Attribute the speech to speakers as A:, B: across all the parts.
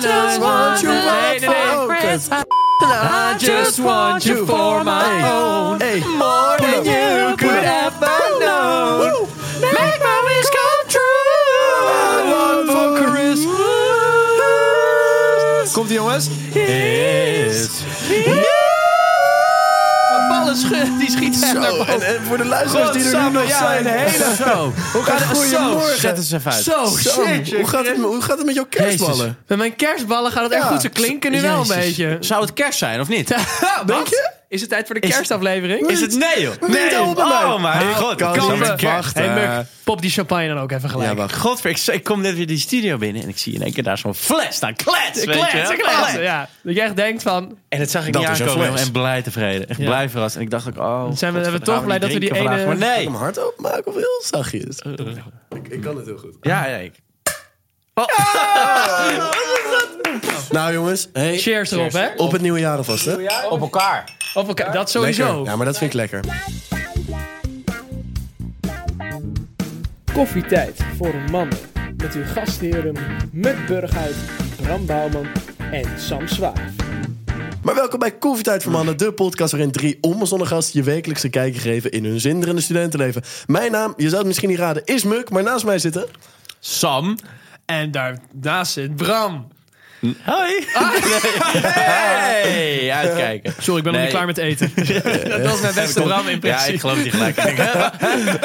A: just want you
B: Nee, nee, nee.
A: for Christmas. I
B: just want you for my own.
A: Hey. More than you could ever know. Make my wish come true. I want for Christmas.
B: Komt ie jongens? Is. Ballen schu- die schiet echt naar
A: Zo, en,
B: boven.
A: en Eh, voor de luisteraars die er nu
B: Godsamme,
A: nog
B: ja,
A: zijn.
B: een hele-
C: Zo,
A: Hoe gaat het? Goedemorgen.
C: zet eens even uit.
B: Zo,
A: Zo,
B: shit.
A: hoe, gaat het, met- hoe gaat het met jouw
C: Jezus.
A: kerstballen?
B: Met mijn kerstballen gaat het echt
A: Ja.
B: goed. Ze klinken nu wel een
C: Jezus.
B: beetje.
C: Zou het kerst zijn of niet?
B: Denk
A: je?
B: Is het tijd voor de
C: Is-
B: kerstaflevering?
C: Is het nee, joh?
A: Nee. Oh,
C: Oh,
A: mijn
C: mijn god.
A: kan
C: kan
A: niet
C: niet
A: wachten.
B: Hey,
C: Hey,
B: Muk,
C: Muk,
B: pop die champagne dan ook even gelijk.
A: Ja,
B: Ja,
A: wacht.
C: Godver, ik, ik kom net weer die studio binnen en ik zie in één keer daar zo'n fles staan. Klets, weet je wel?
B: kletsen, kletsen.
C: Klets.
B: Ja. Dat je echt denkt van,
C: En dat zag ik
A: Dat
C: niet
A: is een
C: aankomen
A: fles.
C: jongen, en blij tevreden. Echt
B: Ja.
C: blij verrast. En ik dacht ook, oh...
B: zijn we-
C: god,
B: we
C: wat
B: toch
C: gaan
B: blij dat we die
C: drinken
B: ene-
C: vandaag?
A: Kan ik hem
C: Maar
A: hard openmaken of heel zachtjes?
B: Eh,
A: Ik, ik kan het heel goed.
C: nee. Ja, ja. Ik.
A: Nou jongens, hey,
B: cheers erop, hè?
A: op het nieuwe jaar alvast, hè?
C: Op elkaar.
B: Op elkaar. Dat sowieso.
A: Lekker. Ja, maar dat vind ik lekker.
D: Koffietijd voor een mannen. Met uw gastheren Muk Burghuis, Bram Bouwman en Sam Zwaar.
A: Maar welkom bij Koffietijd voor Mannen, de podcast waarin drie onbezonnen gasten je wekelijks een kijkje geven in hun zinderende studentenleven. Mijn naam, je zou het misschien niet raden, is Muk, maar naast mij zitten...
C: Sam.
B: En daarnaast zit Bram.
C: Hoi. Hey, uitkijken.
B: Sorry, ik ben nog
C: Nee.
B: niet klaar met eten. dat was mijn beste Bram in
C: Ja,
B: principe.
C: ik geloof die gelijk. Ik denk, hè,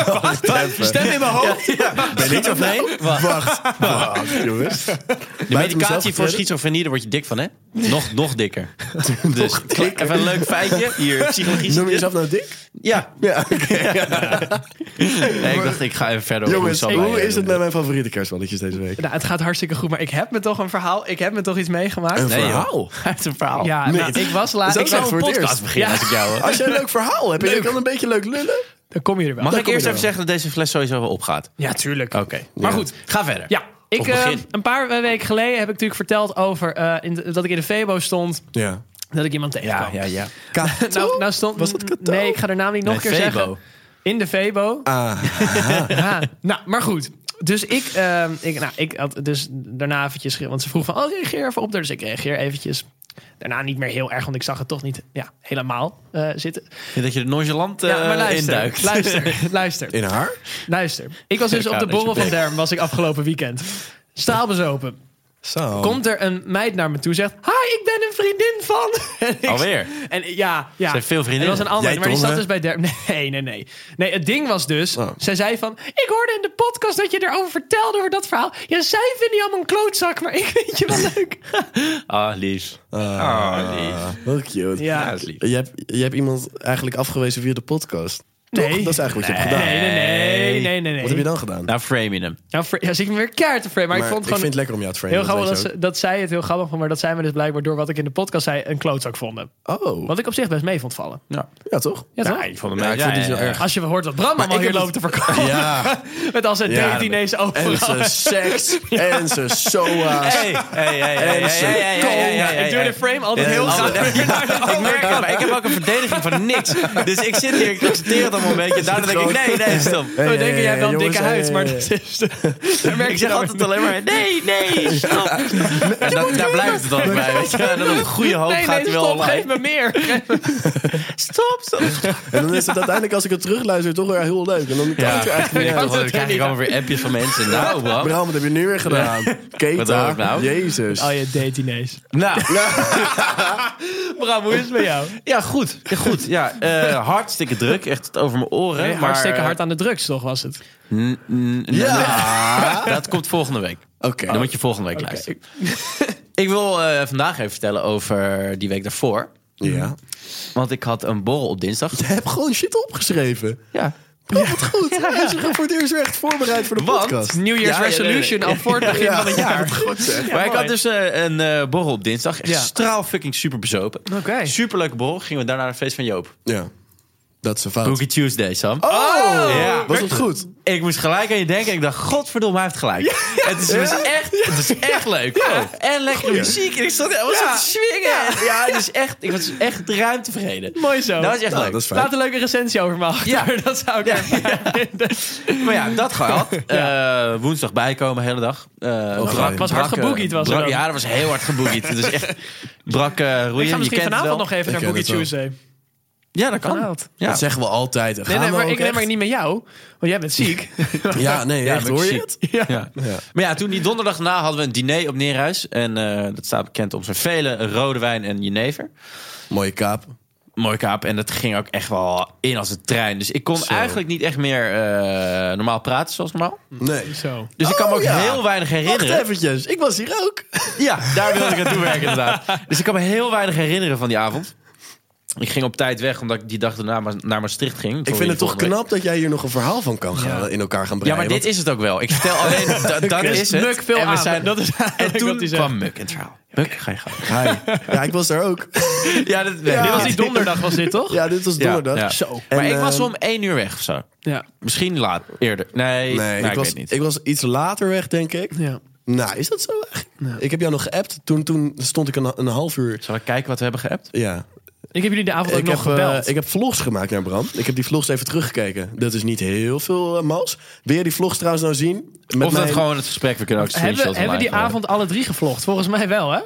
C: Wacht, wacht, stem in mijn hoofd. Ben ik of nee? Wacht.
A: Wacht, wacht jongens.
C: De medicatie voor schizofrenie, daar word je dik van, hè? Nog, nog dikker. dus
A: dikker.
C: even een leuk feitje. Hier, psychologie.
A: Noem je jezelf nou dik?
C: Ja.
A: Ja, oké.
C: Nee, ik dacht, ik ga even verder.
A: Jongens,
C: over Sam
A: hoe
C: heen.
A: is het met mijn favoriete kerstballetjes deze week?
B: Nou, het gaat hartstikke goed, maar ik heb me toch een verhaal. Ik heb me toch iets meegemaakt.
A: Een
C: Nee,
A: verhaal?
C: joh. Hij heeft een verhaal.
B: Ja,
A: Nee.
B: nou, ik was
A: Is
B: laat.
A: dat
B: Ik
A: zo?
B: was-
C: Voor
A: Voor
C: een
A: het
C: podcast
A: eerst.
C: beginnen
B: Ja.
C: als ik jou... hè.
A: Als jij een leuk verhaal hebt en je kan een beetje leuk lullen...
B: dan kom je er wel.
C: Mag
A: Daar
C: ik
A: kom
C: eerst
A: je
C: even
A: wel.
C: zeggen dat deze fles sowieso wel opgaat?
B: Ja, tuurlijk.
C: Oké. Maar
A: Ja.
C: goed, ga verder.
B: Ja, ik,
C: Of begin.
B: eh, een paar eh, weken geleden heb ik natuurlijk verteld over eh, in de- dat ik in de Febo stond.
A: Ja.
B: Dat ik iemand tegenkwam.
C: ja, ja. ja.
B: Nou, nou stond,
A: Was dat Kato?
B: Nee, ik ga de naam niet nog een
C: Nee,
B: keer
C: Febo.
B: zeggen. In de Febo.
A: Ah,
B: Ja, nou, maar goed. Dus ik, ehm, ik, nou, ik had dus daarna eventjes... ge- Want ze vroeg van, oh, reageer even op. Dus ik reageer eventjes. Daarna niet meer heel erg, want ik zag het toch niet ja, helemaal eh, zitten.
C: Dat je er nonchalant eh,
B: Ja, maar luister,
C: induikt.
B: luister, luister,
A: in haar?
B: luister. Ik was dus op de
C: Kadertje
B: borrel van
C: bek.
B: Derm, was ik afgelopen weekend. Staalbezopen.
A: Zo.
B: Komt er een meid naar me toe, zegt... Hi, ik ben een vriendin van... En ik-
C: Alweer.
B: En ja, ja.
C: Ze heeft veel vriendinnen.
B: Er was een ander,
A: Jij
B: maar die
A: toch,
B: zat dus
A: hè?
B: bij Derm. Nee, nee, nee. Nee, het ding was dus...
A: Oh.
B: Zij zei van... Ik hoorde in de podcast dat je erover vertelde, over dat verhaal. Ja, zij vinden je allemaal een klootzak, maar ik vind je wel leuk.
C: Ah, lief. Ah, lief.
A: Wel cute.
B: Ja.
C: Ja, dat is lief.
A: Je hebt, je hebt iemand eigenlijk afgewezen via de podcast.
B: Nee.
A: Toch? Dat is eigenlijk wat je hebt gedaan.
B: Nee, nee, nee, nee, nee. nee.
A: Wat heb je dan gedaan?
C: Nou, frame je hem.
B: Nou, fr- ja, zit ik me weer keihard te frame, maar,
A: maar
B: ik vond gewoon...
A: vind het lekker om jou te framen.
B: Heel grappig dat,
A: weet je
B: ze- dat zij het heel grappig vond, maar dat zij me dus blijkbaar door wat ik in de podcast zei een klootzak vonden.
A: ook. Oh,
B: Wat ik op zich best mee vond vallen.
C: Ja.
A: ja toch?
B: Ja, toch?
C: ik vond hem
A: Ja, ik vond die zo erg.
B: Als je hoort wat Bram allemaal
A: ik
B: hier
A: heb
B: loopt te verkopen.
A: Ja.
B: Met al zijn
A: Ja,
B: datingdiners
A: en
B: overal.
A: ze seks en ze soa's.
C: Hey, hey, hey, hey, hey,
A: ze
C: hey, hey,
A: komen.
C: hey, hey, hey,
B: Ik doe
C: hey.
B: de frame altijd heel
C: Ja,
B: graag.
C: altijd- Ik merk het, maar ik heb ook een verdediging van niks. Dus ik zit hier, ik accepteer het allemaal een beetje. Daarna denk ik, nee, nee, stop.
B: We denken, jij hebt wel een
A: jongens,
B: dikke
A: hey,
B: huid, maar
A: hey,
B: dat is... daar merk
C: Ik
B: je
C: zeg
B: dan
C: altijd alleen maar, nee, nee, stop. En dat, daar blijft het dan bij, weet je. En dan op goede hoop
B: weer. Nee,
C: gaat
B: nee,
C: hij wel
B: stop, geef
C: online.
B: me meer.
C: Stop, stop.
A: En dan is het uiteindelijk, als ik het terugluister, toch weer heel leuk. En dan kan
C: Ja,
A: het er
C: ik
A: eigenlijk niet uit.
B: dat
C: dan
B: kan
C: krijg
B: niet.
C: ik allemaal weer appjes van mensen. Nou, Bram.
A: Bram, wat heb je nu weer gedaan?
C: Wat wou
A: Keta,
C: ik nou?
A: jezus.
B: Al je datingdiners.
C: Nou,
B: Bram, hoe is het met jou?
C: ja, goed. Ja, goed. Ja, eh, hartstikke druk. Echt tot over mijn oren. maar,
B: Hartstikke hard aan de drugs, toch, was het?
C: N- n- nou.
A: Ja.
C: Dat komt volgende week.
A: Oké.
C: Dan moet je volgende week luisteren. Ik wil eh, vandaag even vertellen over die week daarvoor.
A: Ja.
C: Want ik had een borrel op dinsdag.
A: Je hebt gewoon shit opgeschreven.
C: Ja.
A: Ja, wat goed. Hij is er voor het eerst weer echt voorbereid voor de
C: Want-
A: podcast.
B: New Year's
C: Ja, ja,
B: resolution
C: nee,
B: al voor het begin van het jaar.
A: Goed zeg.
C: maar ik
B: mooi.
C: had dus eh, een eh, borrel op dinsdag. Echt
B: Ja.
C: straal fucking super bezopen.
B: Oké.
C: Super leuke borrel. Gingen we daarna naar het feest van Joop.
A: Ja. Dat is een fout.
C: Cookie Tuesday, Sam.
A: Oh!
C: Ja.
A: Was dat goed?
C: Ik moest gelijk aan je denken. Ik dacht, godverdomme, hij heeft gelijk. Het, is, het is echt, het is echt leuk. Oh. En lekkere muziek. En ik zat helemaal zo te swingen. Ja, het is echt, ik was echt ruim tevreden.
B: Mooi zo.
C: Dat is echt
A: Nou,
C: leuk.
A: dat is fijn.
B: Laat een leuke recensie over me achter.
C: Ja.
B: dat zou ik erg fijn vinden.
C: Maar ja, dat gehad. Eh, woensdag bijkomen, hele dag. Eh, brak-
A: fijn.
B: Was hard
C: brak, eh,
B: geboogied was er
C: brak-
B: dan.
C: Ja, dat was heel hard geboogied. Het is echt brak eh roeien.
B: Ik ga
C: Je
B: misschien
C: kent het
B: vanavond
C: wel.
B: nog even
A: Ik
B: naar
A: ken
B: Boogie
A: het wel.
B: Tuesday.
C: Ja, dat kan.
B: Vanavond.
C: Ja.
A: Dat zeggen we altijd.
B: Nee,
A: Gaan
B: nee,
A: we
B: maar
A: ook
B: ik neem maar
A: echt?
B: niet met jou, want jij bent ziek.
A: Ja, nee,
C: Ja,
A: echt,
C: ben ik
A: hoor je
C: ziek.
A: het?
B: ja.
C: Ja. Maar ja, toen die donderdag na hadden we een diner op Neerhuis. En eh, dat staat bekend om zijn vele rode wijn en jenever.
A: Mooie kaap.
C: Mooi kaap. En dat ging ook echt wel in als een trein. Dus ik kon
A: Zo.
C: eigenlijk niet echt meer eh, normaal praten zoals normaal.
A: Nee.
B: Zo.
C: Dus ik kan me
A: Oh,
C: ook
A: ja.
C: heel weinig
A: Wacht
C: herinneren.
A: eventjes, ik was hier ook.
C: Ja, daar wilde ik aan toewerken inderdaad. Dus ik kan me heel weinig herinneren van die avond. Ik ging op tijd weg, omdat ik die dag daarna ma- naar Maastricht ging.
A: Ik vind het toch knap dat jij hier nog een verhaal van kan gaan, in elkaar gaan
C: Ja,
A: breien.
C: maar dit is het ook wel. Ik vertel alleen, da- dat
B: Dus
C: is het.
B: Muk veel
C: en we
B: aan.
C: zijn...
B: Dat is
C: En
B: eigenlijk wat
C: toen
B: hij zegt.
C: kwam Muk in het verhaal. Muk, ga je gang.
A: want- Hi. Ja, ik was daar ook.
C: Ja, dat,
A: Ja.
B: Dit was die donderdag, was dit toch?
A: Ja, dit was donderdag.
C: Ja.
B: Zo.
A: En,
C: Maar ik was
A: ehm,
C: om één uur weg of zo.
B: Ja.
C: Misschien laat, eerder. Nee, nou,
A: Nee,
C: ik,
A: ik, was,
C: weet niet.
A: ik was iets later weg, denk ik.
B: ja.
A: Nou, is dat zo echt? Ik heb jou nog geappt. Toen, toen stond ik een, een half uur...
C: Zal ik kijken wat we hebben geappt?
A: Ja.
B: Ik heb jullie de avond ook
A: Ik heb,
B: nog
A: eh,
B: gebeld.
A: ik heb vlogs gemaakt naar Bram. Ik heb die vlogs even teruggekeken. Dat is niet heel veel eh, mals. Wil je die vlogs trouwens nou zien? Met
C: of dat
A: mijn,
C: gewoon het gesprek, we kunnen ook
B: hebben
C: screenshots
B: hebben we die
C: online
B: avond alle drie gevlogd? Volgens mij wel, hè?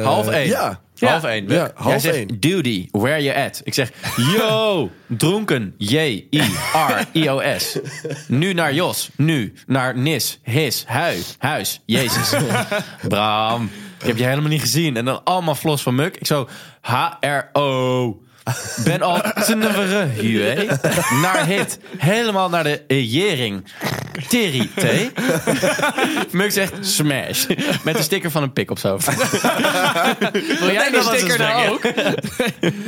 A: eh,
C: Half één.
A: Ja.
C: Half één.
A: Ja,
C: Jij
A: half
C: zegt,
A: één.
C: Duty, where you at? Ik zeg, yo, dronken, E, J-I-R-I-O-S. Nu naar Jos, nu naar Nis, His, Hui, Huis, Jezus. Bram, ik heb je helemaal niet gezien. En dan allemaal flos van muk. Ik zo, H-R-O. Ben al tnevere hue naar hit. Helemaal naar de eh, jering. Terry T. Muk zegt smash. Met een sticker van een pik op zijn hoofd.
B: Wil
C: Nee, dat nou.
B: jij die
C: was
B: sticker
C: een
B: nou ook?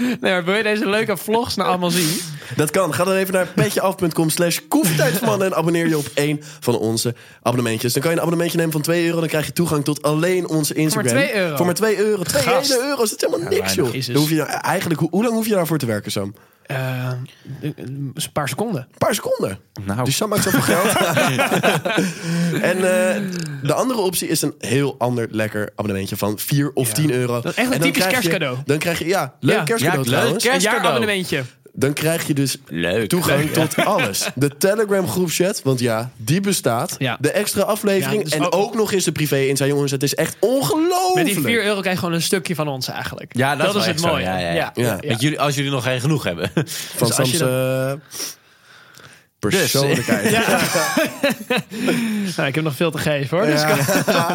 B: nee, maar wil je deze leuke vlogs nou allemaal zien?
A: Dat kan. Ga dan even naar petjeaf.com slash koffietijdsmannen en abonneer je op één van onze abonnementjes. Dan kan je een abonnementje nemen van 2 euro dan krijg je toegang tot alleen onze Instagram.
B: 2 euro.
A: Voor maar 2 euro. 2
B: Gast.
A: hele euro. Dat is helemaal
C: weinig
A: niks, joh.
B: is het.
A: Dan hoef je, daar- eigenlijk, hoe, hoe lang hoef je daarvoor te werken, Sam? Een
B: Eh, een paar seconden.
A: paar seconden.
C: Nou.
A: Dus Sam maakt zoveel geld. en eh, de andere optie is een heel ander lekker abonnementje van 4 of 10 euro.
B: Dat is echt een
A: En dan
B: typisch
A: krijg je-
B: kerstcadeau.
A: dan krijg je, ja, leuk
B: Ja.
A: kerstcadeau
C: Ja, leuk
A: trouwens.
B: Een
C: Kerstcadeau.
B: jaarabonnementje.
A: Dan krijg je dus
C: Leuk.
A: toegang tot alles. De Telegram groepchat, want ja, die bestaat.
B: Ja.
A: De extra aflevering
B: Ja, dus
A: en ook,
B: ook-
A: nog eens de privé in zijn jongens. Het is echt ongelooflijk.
B: Met die 4 euro krijg je gewoon een stukje van ons eigenlijk.
C: Ja, dat is wel
B: is het
C: echt zo.
B: mooie.
C: Ja, ja, ja.
A: Ja.
B: ja.
C: Met jullie, als jullie nog geen genoeg hebben.
A: van
B: dus als
A: Sam's
B: je
A: eh,
C: Dus-
A: persoonlijkheid. ja.
B: Nou, ik heb nog veel te geven hoor. Dus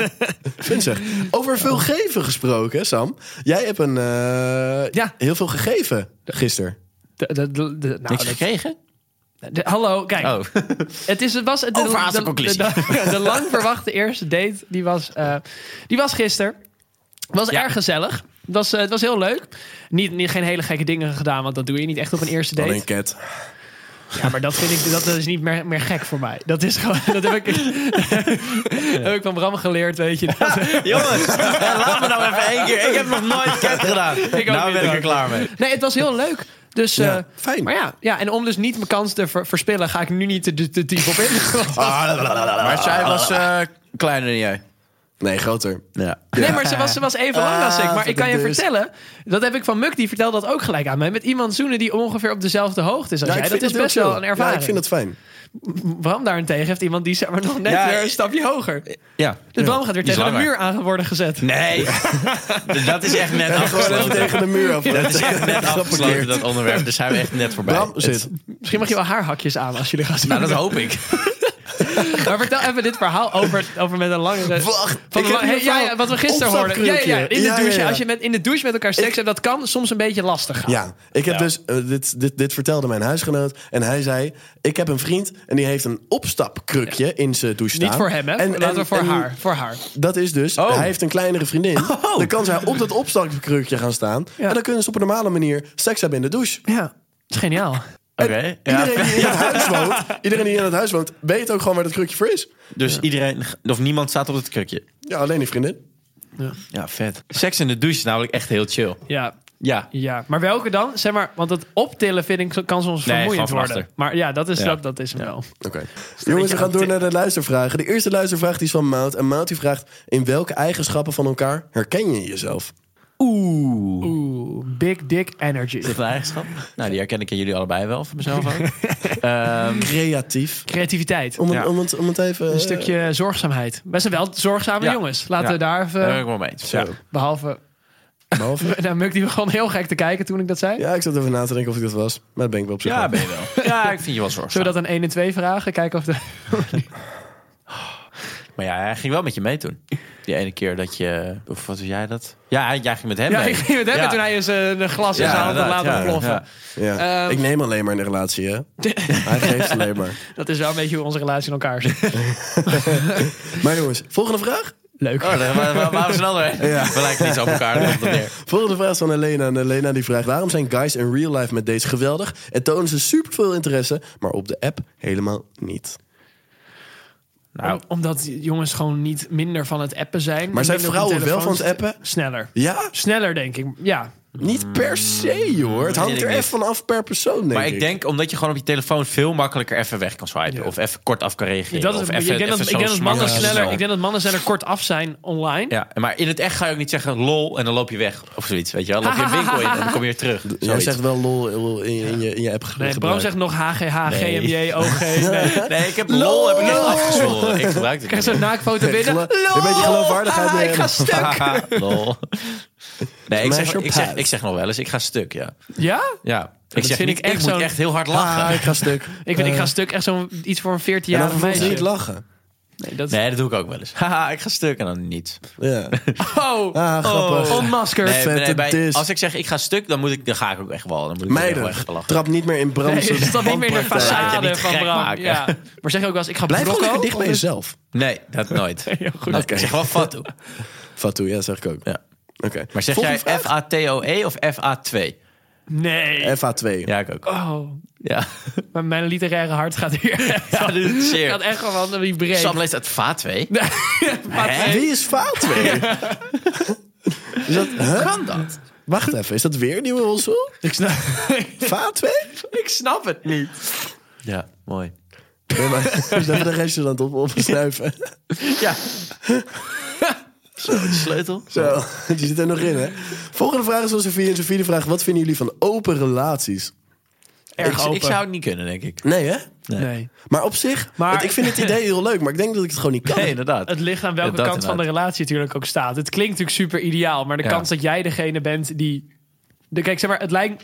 A: Vincent, over veel geven gesproken, Sam. Jij hebt een, eh,
B: Ja.
A: heel veel gegeven gisteren.
B: de- de- de- de- nou,
C: Niks gekregen?
B: de- de- hallo, kijk.
C: Oh.
B: Het, is, het was de,
C: Overhaaste
B: de,
C: conclusie.
B: de- de- de lang verwachte eerste date, die was, eh, die was gisteren. Het was
C: Ja.
B: erg gezellig. Het was, eh, het was heel leuk. Niet, niet, geen hele gekke dingen gedaan, want dat doe je niet echt op een eerste date.
A: Alleen cat.
B: Ja, maar dat vind ik dat is niet meer, meer gek voor mij. Dat is gewoon. Dat heb ik, heb ik van Bram geleerd, weet je. Dat-
C: Jongens, laat me nou even één keer. Ik heb nog nooit cat gedaan.
B: ook
C: nou
B: niet,
C: ben ik er
B: ook.
C: klaar mee.
B: Nee, het was heel leuk. Dus, eh,
A: fijn.
B: Maar ja, ja, en om dus niet mijn kans te ver- verspillen, ga ik nu niet te, te, te diep op in. Want-
C: Maar zij was eh, kleiner dan jij.
A: Nee, groter. Nou,
C: Ja.
B: Nee, maar ze was, ze was even lang als ik.
A: Ah,
B: Maar ik kan je
A: dus.
B: vertellen, dat heb ik van Muk, die vertelde dat ook gelijk aan mij. Met iemand zoenen die ongeveer op dezelfde hoogte is als
A: ik
B: jij. Dat
A: vind
B: is
A: heel
B: best wel
A: chill.
B: een ervaring.
A: Ja, ik vind dat fijn.
B: Bram daarentegen heeft iemand die zeg maar nog net
C: Ja,
B: weer een
C: ik-
B: stapje hoger.
A: eh,
C: ja.
B: Dus Bram gaat weer
C: Die is
B: tegen de
C: langer.
B: muur aan worden gezet.
C: Nee, dat is echt net
A: Gewoon even
C: afgesloten.
A: tegen de muur af.
C: Dat is echt net afgesloten,
A: Geblokkeerd.
C: dat onderwerp. Daar zijn we echt net voorbij.
A: Bram, zit.
B: Misschien mag je wel haarhakjes aan als jullie gaan zien.
C: Nou, dat hoop ik.
B: Maar vertel even dit verhaal over, over met een langere...
A: Wacht,
B: Van
A: ik
B: de-
A: heb hier
B: hey, ja,
A: wel
B: ja, wat we gisteren hoorden. Ja, ja, ja, in de
A: opstapkrukje.
B: douche.
A: Ja, ja,
B: Als je
A: ja.
B: met, in de douche met elkaar seks hebt, dat kan soms een beetje lastig gaan.
A: Ja, ik heb dus, eh, dit, dit, dit vertelde mijn huisgenoot. En hij zei, ik heb een vriend en die heeft een opstapkrukje in zijn douche staan.
B: Niet voor hem, hè?
A: En,
B: Laten
A: en-
B: we voor
A: en
B: haar. Voor haar.
A: Dat is dus,
C: Oh.
A: hij heeft een kleinere vriendin. Dan kan zij op dat opstapkrukje gaan staan.
B: Ja.
A: En dan kunnen ze op een normale manier seks hebben in de douche.
B: Ja, dat is geniaal.
C: Oké. Ja.
A: Iedereen die in het huis woont, iedereen die in het huis woont, weet ook gewoon waar dat krukje voor is.
C: Dus iedereen, of niemand staat op het krukje.
A: Ja, alleen die vriendin.
C: Ja, vet. Seks in de douche is namelijk echt heel chill.
B: Ja,
C: Ja.
B: Ja, maar welke dan? Zeg maar, want het optillen vind ik kan soms
C: Nee,
B: vermoeiend
C: gewoon
B: worden.
C: van
B: Maar ja, dat is,
C: Ja.
B: Dat, dat is hem wel.
A: Oké. Jongens, we gaan door naar de luistervragen. De eerste luistervraag die is van Mout. En Mout die vraagt: In welke eigenschappen van elkaar herken je jezelf?
C: Oeh.
B: Oeh, big dick energy.
C: Dat eigenschap. Nou, die herken ik in jullie allebei wel, voor mezelf ook. Ehm,
A: Creatief.
B: Creativiteit.
A: Om het,
C: Ja.
A: om het, om het even.
B: Een stukje zorgzaamheid. Wij zijn wel zorgzame
C: Ja.
B: jongens. Laten
C: Ja.
B: we daar even...
C: daar ben ik wel mee eens.
A: Zo.
C: Ja.
B: Behalve
A: Behalve.
B: nou, Muk, die begon heel gek te kijken toen ik dat zei.
A: Ja, ik zat even na te denken of ik dat was. Maar dat ben ik wel op zich.
C: ja,
A: wel.
C: ben je wel. Ja, ik vind je wel zorgzaam.
B: Zullen we dat aan 1 en 2 vragen? Kijken of de...
C: Maar ja, hij ging wel met je mee toen. Die ene keer dat je... Of wat was jij dat? Ja, hij- jij ging met hem
B: Ja,
C: mee.
B: ik ging met hem
C: Ja.
B: en toen hij eens eh, een glas in
C: Ja,
B: zijn hand had
C: inderdaad,
B: laten
C: ja,
B: ploffen.
C: ja.
A: Ja.
B: Ehm.
A: ik neem alleen maar in de relatie, hè? Hij geeft alleen maar.
B: Dat is wel een beetje hoe onze relatie in elkaar zit.
A: Maar jongens, volgende vraag.
B: Leuk.
C: Oh, daar waar- waar- waar was een ander heen? We lijken niet zo op elkaar. daar komt het neer.
A: Volgende vraag is van Helena. En Helena die vraagt: Waarom zijn guys in real life met dates geweldig en tonen ze superveel interesse, maar op de app helemaal niet?
C: Nou,
B: Om- omdat jongens gewoon niet minder van het appen zijn.
A: Maar zijn
B: Minder op hun
A: vrouwen wel van het
B: telefoons.
A: appen?
B: Sneller.
A: Ja,
B: Sneller, denk ik. Ja.
A: niet per se hoor. Het hangt
C: ik
A: er
C: niet.
A: echt van af per persoon, denk
C: maar ik denk omdat je gewoon op je telefoon veel makkelijker even weg kan swipen. Of even kort af kan reageren.
B: Dat
C: of
B: is,
C: even,
B: ik, denk dat,
C: even
B: ik, denk
C: zo
B: dat mannen
C: smakken.
B: sneller, ik denk dat mannen sneller kort af zijn online.
C: Ja, maar in het echt ga je ook niet zeggen lol en dan loop je weg. Of zoiets, weet je wel. Dan loop je een winkel in en dan kom je weer terug.
A: Jij
C: Zoiets.
A: zegt wel lol lol in je, in je, in je app ge-
B: Nee, Bram
A: gebruik.
B: zegt nog HGH,
C: Nee.
B: GMJ, OG. Nee.
C: Nee, ik heb lol heb ik echt afgezworen. Ik gebruik het
B: Krijg zo'n naakfoto
A: Nee,
B: binnen.
A: gelo- een beetje geloofwaardigheid
B: Ah, ik
A: erin.
B: ga stuk.
C: niet. lol. Nee, ik zeg,
A: Smash your
C: ik, zeg,
A: pad.
C: ik zeg nog wel eens, ik ga stuk, ja.
B: Ja?
C: Ja, ik zeg
B: vind
C: niet,
B: ik
C: ik,
B: echt
C: moet
B: zo'n-
C: echt heel hard lachen.
A: Ah, ik ga stuk.
B: Ik,
C: Eh.
B: vind, ik ga stuk echt zo'n iets voor een
A: En dan
B: 14-jarige
A: vervolgens
B: meisje.
A: niet lachen.
B: Nee, dat is...
C: Nee, dat doe ik ook wel eens. Haha, ik ga stuk en dan niet.
A: Ja.
B: Oh,
A: Ah, grappig.
B: oh, onmaskerd.
C: Nee,
A: Vette
C: nee, bij-
A: dis.
C: als ik zeg ik ga stuk, dan, moet ik, dan ga ik ook echt wel. Dan moet ik
A: Meiden,
C: echt wel lachen.
A: trap niet meer in Bram's
B: Nee, het staat niet meer in de
A: handpraktijk.
C: laat je
B: façade
C: niet
B: van
C: gek
B: Bram.
C: maken.
B: Ja. Maar zeg ook wel eens, ik ga
A: Blijf gewoon
B: brokko.
A: lekker dicht bij jezelf.
C: Nee, dat nooit.
B: Ja, goed.
C: Nee, Ik zeg wel fatu.
A: Fatou, ja, zeg ik ook.
C: Ja.
A: Oké.
C: Maar zeg
A: Volgende
C: jij
A: vraag.
C: F-A-T-O-E E of F-A-2? Eh.
B: Nee.
A: FA2.
C: Ja, ik ook.
B: Oh,
C: Ja,
B: maar mijn literaire hart gaat hier.
C: ja dit is
B: gaat
C: zeer.
B: echt gewoon naar die breed.
C: Sam leest uit FA2.
A: Wie is FA2? is dat, huh?
C: Kan dat?
A: Wacht even, is dat weer een nieuwe rolstoel?
B: Ik snap,
A: FA2?
B: ik snap het niet.
C: Ja, mooi.
A: Nee, maar we zijn de restje aan het op, opsnuiven.
C: Ja. Zo, de sleutel.
A: Zo, die zit er nog in, hè? Volgende vraag is van Sofie. En Sofie de vraag, wat vinden jullie van open relaties?
B: Erg
C: ik,
B: open.
C: ik zou het niet kunnen, denk ik.
A: Nee, hè?
B: Nee.
A: Maar op zich,
B: Maar-
A: want ik vind het idee heel leuk, maar ik denk dat ik het gewoon niet kan.
C: Nee, inderdaad.
B: Het ligt aan welke
C: Ja, dat
B: kant van de relatie natuurlijk ook staat. Het klinkt natuurlijk super ideaal, maar de
C: Ja.
B: kans dat jij degene bent die. De, kijk, zeg maar, het lijkt.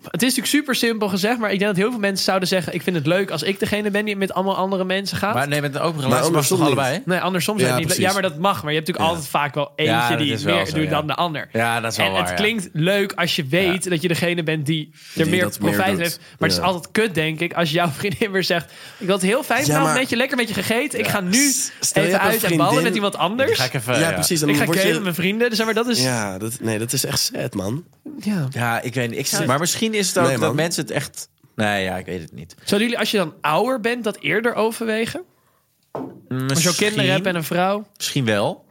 B: Het is natuurlijk super simpel gezegd, maar ik denk dat heel veel mensen zouden zeggen: Ik vind het leuk als ik degene ben die met allemaal andere mensen gaat.
C: Maar nee, met een open relatie mag
A: andersom
C: toch
A: niet.
C: allebei?
B: nee, andersom
A: Ja,
B: zou het niet.
A: precies.
B: Ja, maar dat mag. Maar je hebt natuurlijk altijd vaak wel eentje
C: Ja, dat
B: die
C: is wel
B: meer
C: zo,
B: doet
C: ja.
B: dan de ander.
C: Ja, dat is wel
B: En
C: waar,
B: het
C: ja.
B: klinkt leuk als je weet dat je degene bent die er
A: Die
B: meer
A: dat meer
B: profijt
A: doet.
B: heeft. Maar het
A: Ja.
B: is altijd kut, denk ik, als jouw vriendin weer zegt... Ik had het heel fijn vanavond
A: maar-
B: met je, lekker met je gegeten. Ik ga nu
A: S- stel je
B: even
A: hebt een
B: uit en ballen
A: vriendin-
B: met iemand
C: Dan
B: anders.
C: Ga ik even...
A: Ja, precies. Dan
B: ik ga
A: word je-
B: kelen met mijn vrienden. Dus zeg maar, dat is... Ja.
A: Ja, dat, nee, dat is echt sad, man.
C: Ja, ik weet niet. Ik zou- maar misschien is het ook
A: Nee, man.
C: dat mensen het echt... Nee, ja, ik weet het niet.
B: Zouden jullie, als je dan ouder bent, dat eerder overwegen? Als je al kinderen hebt en een vrouw?
C: Misschien wel.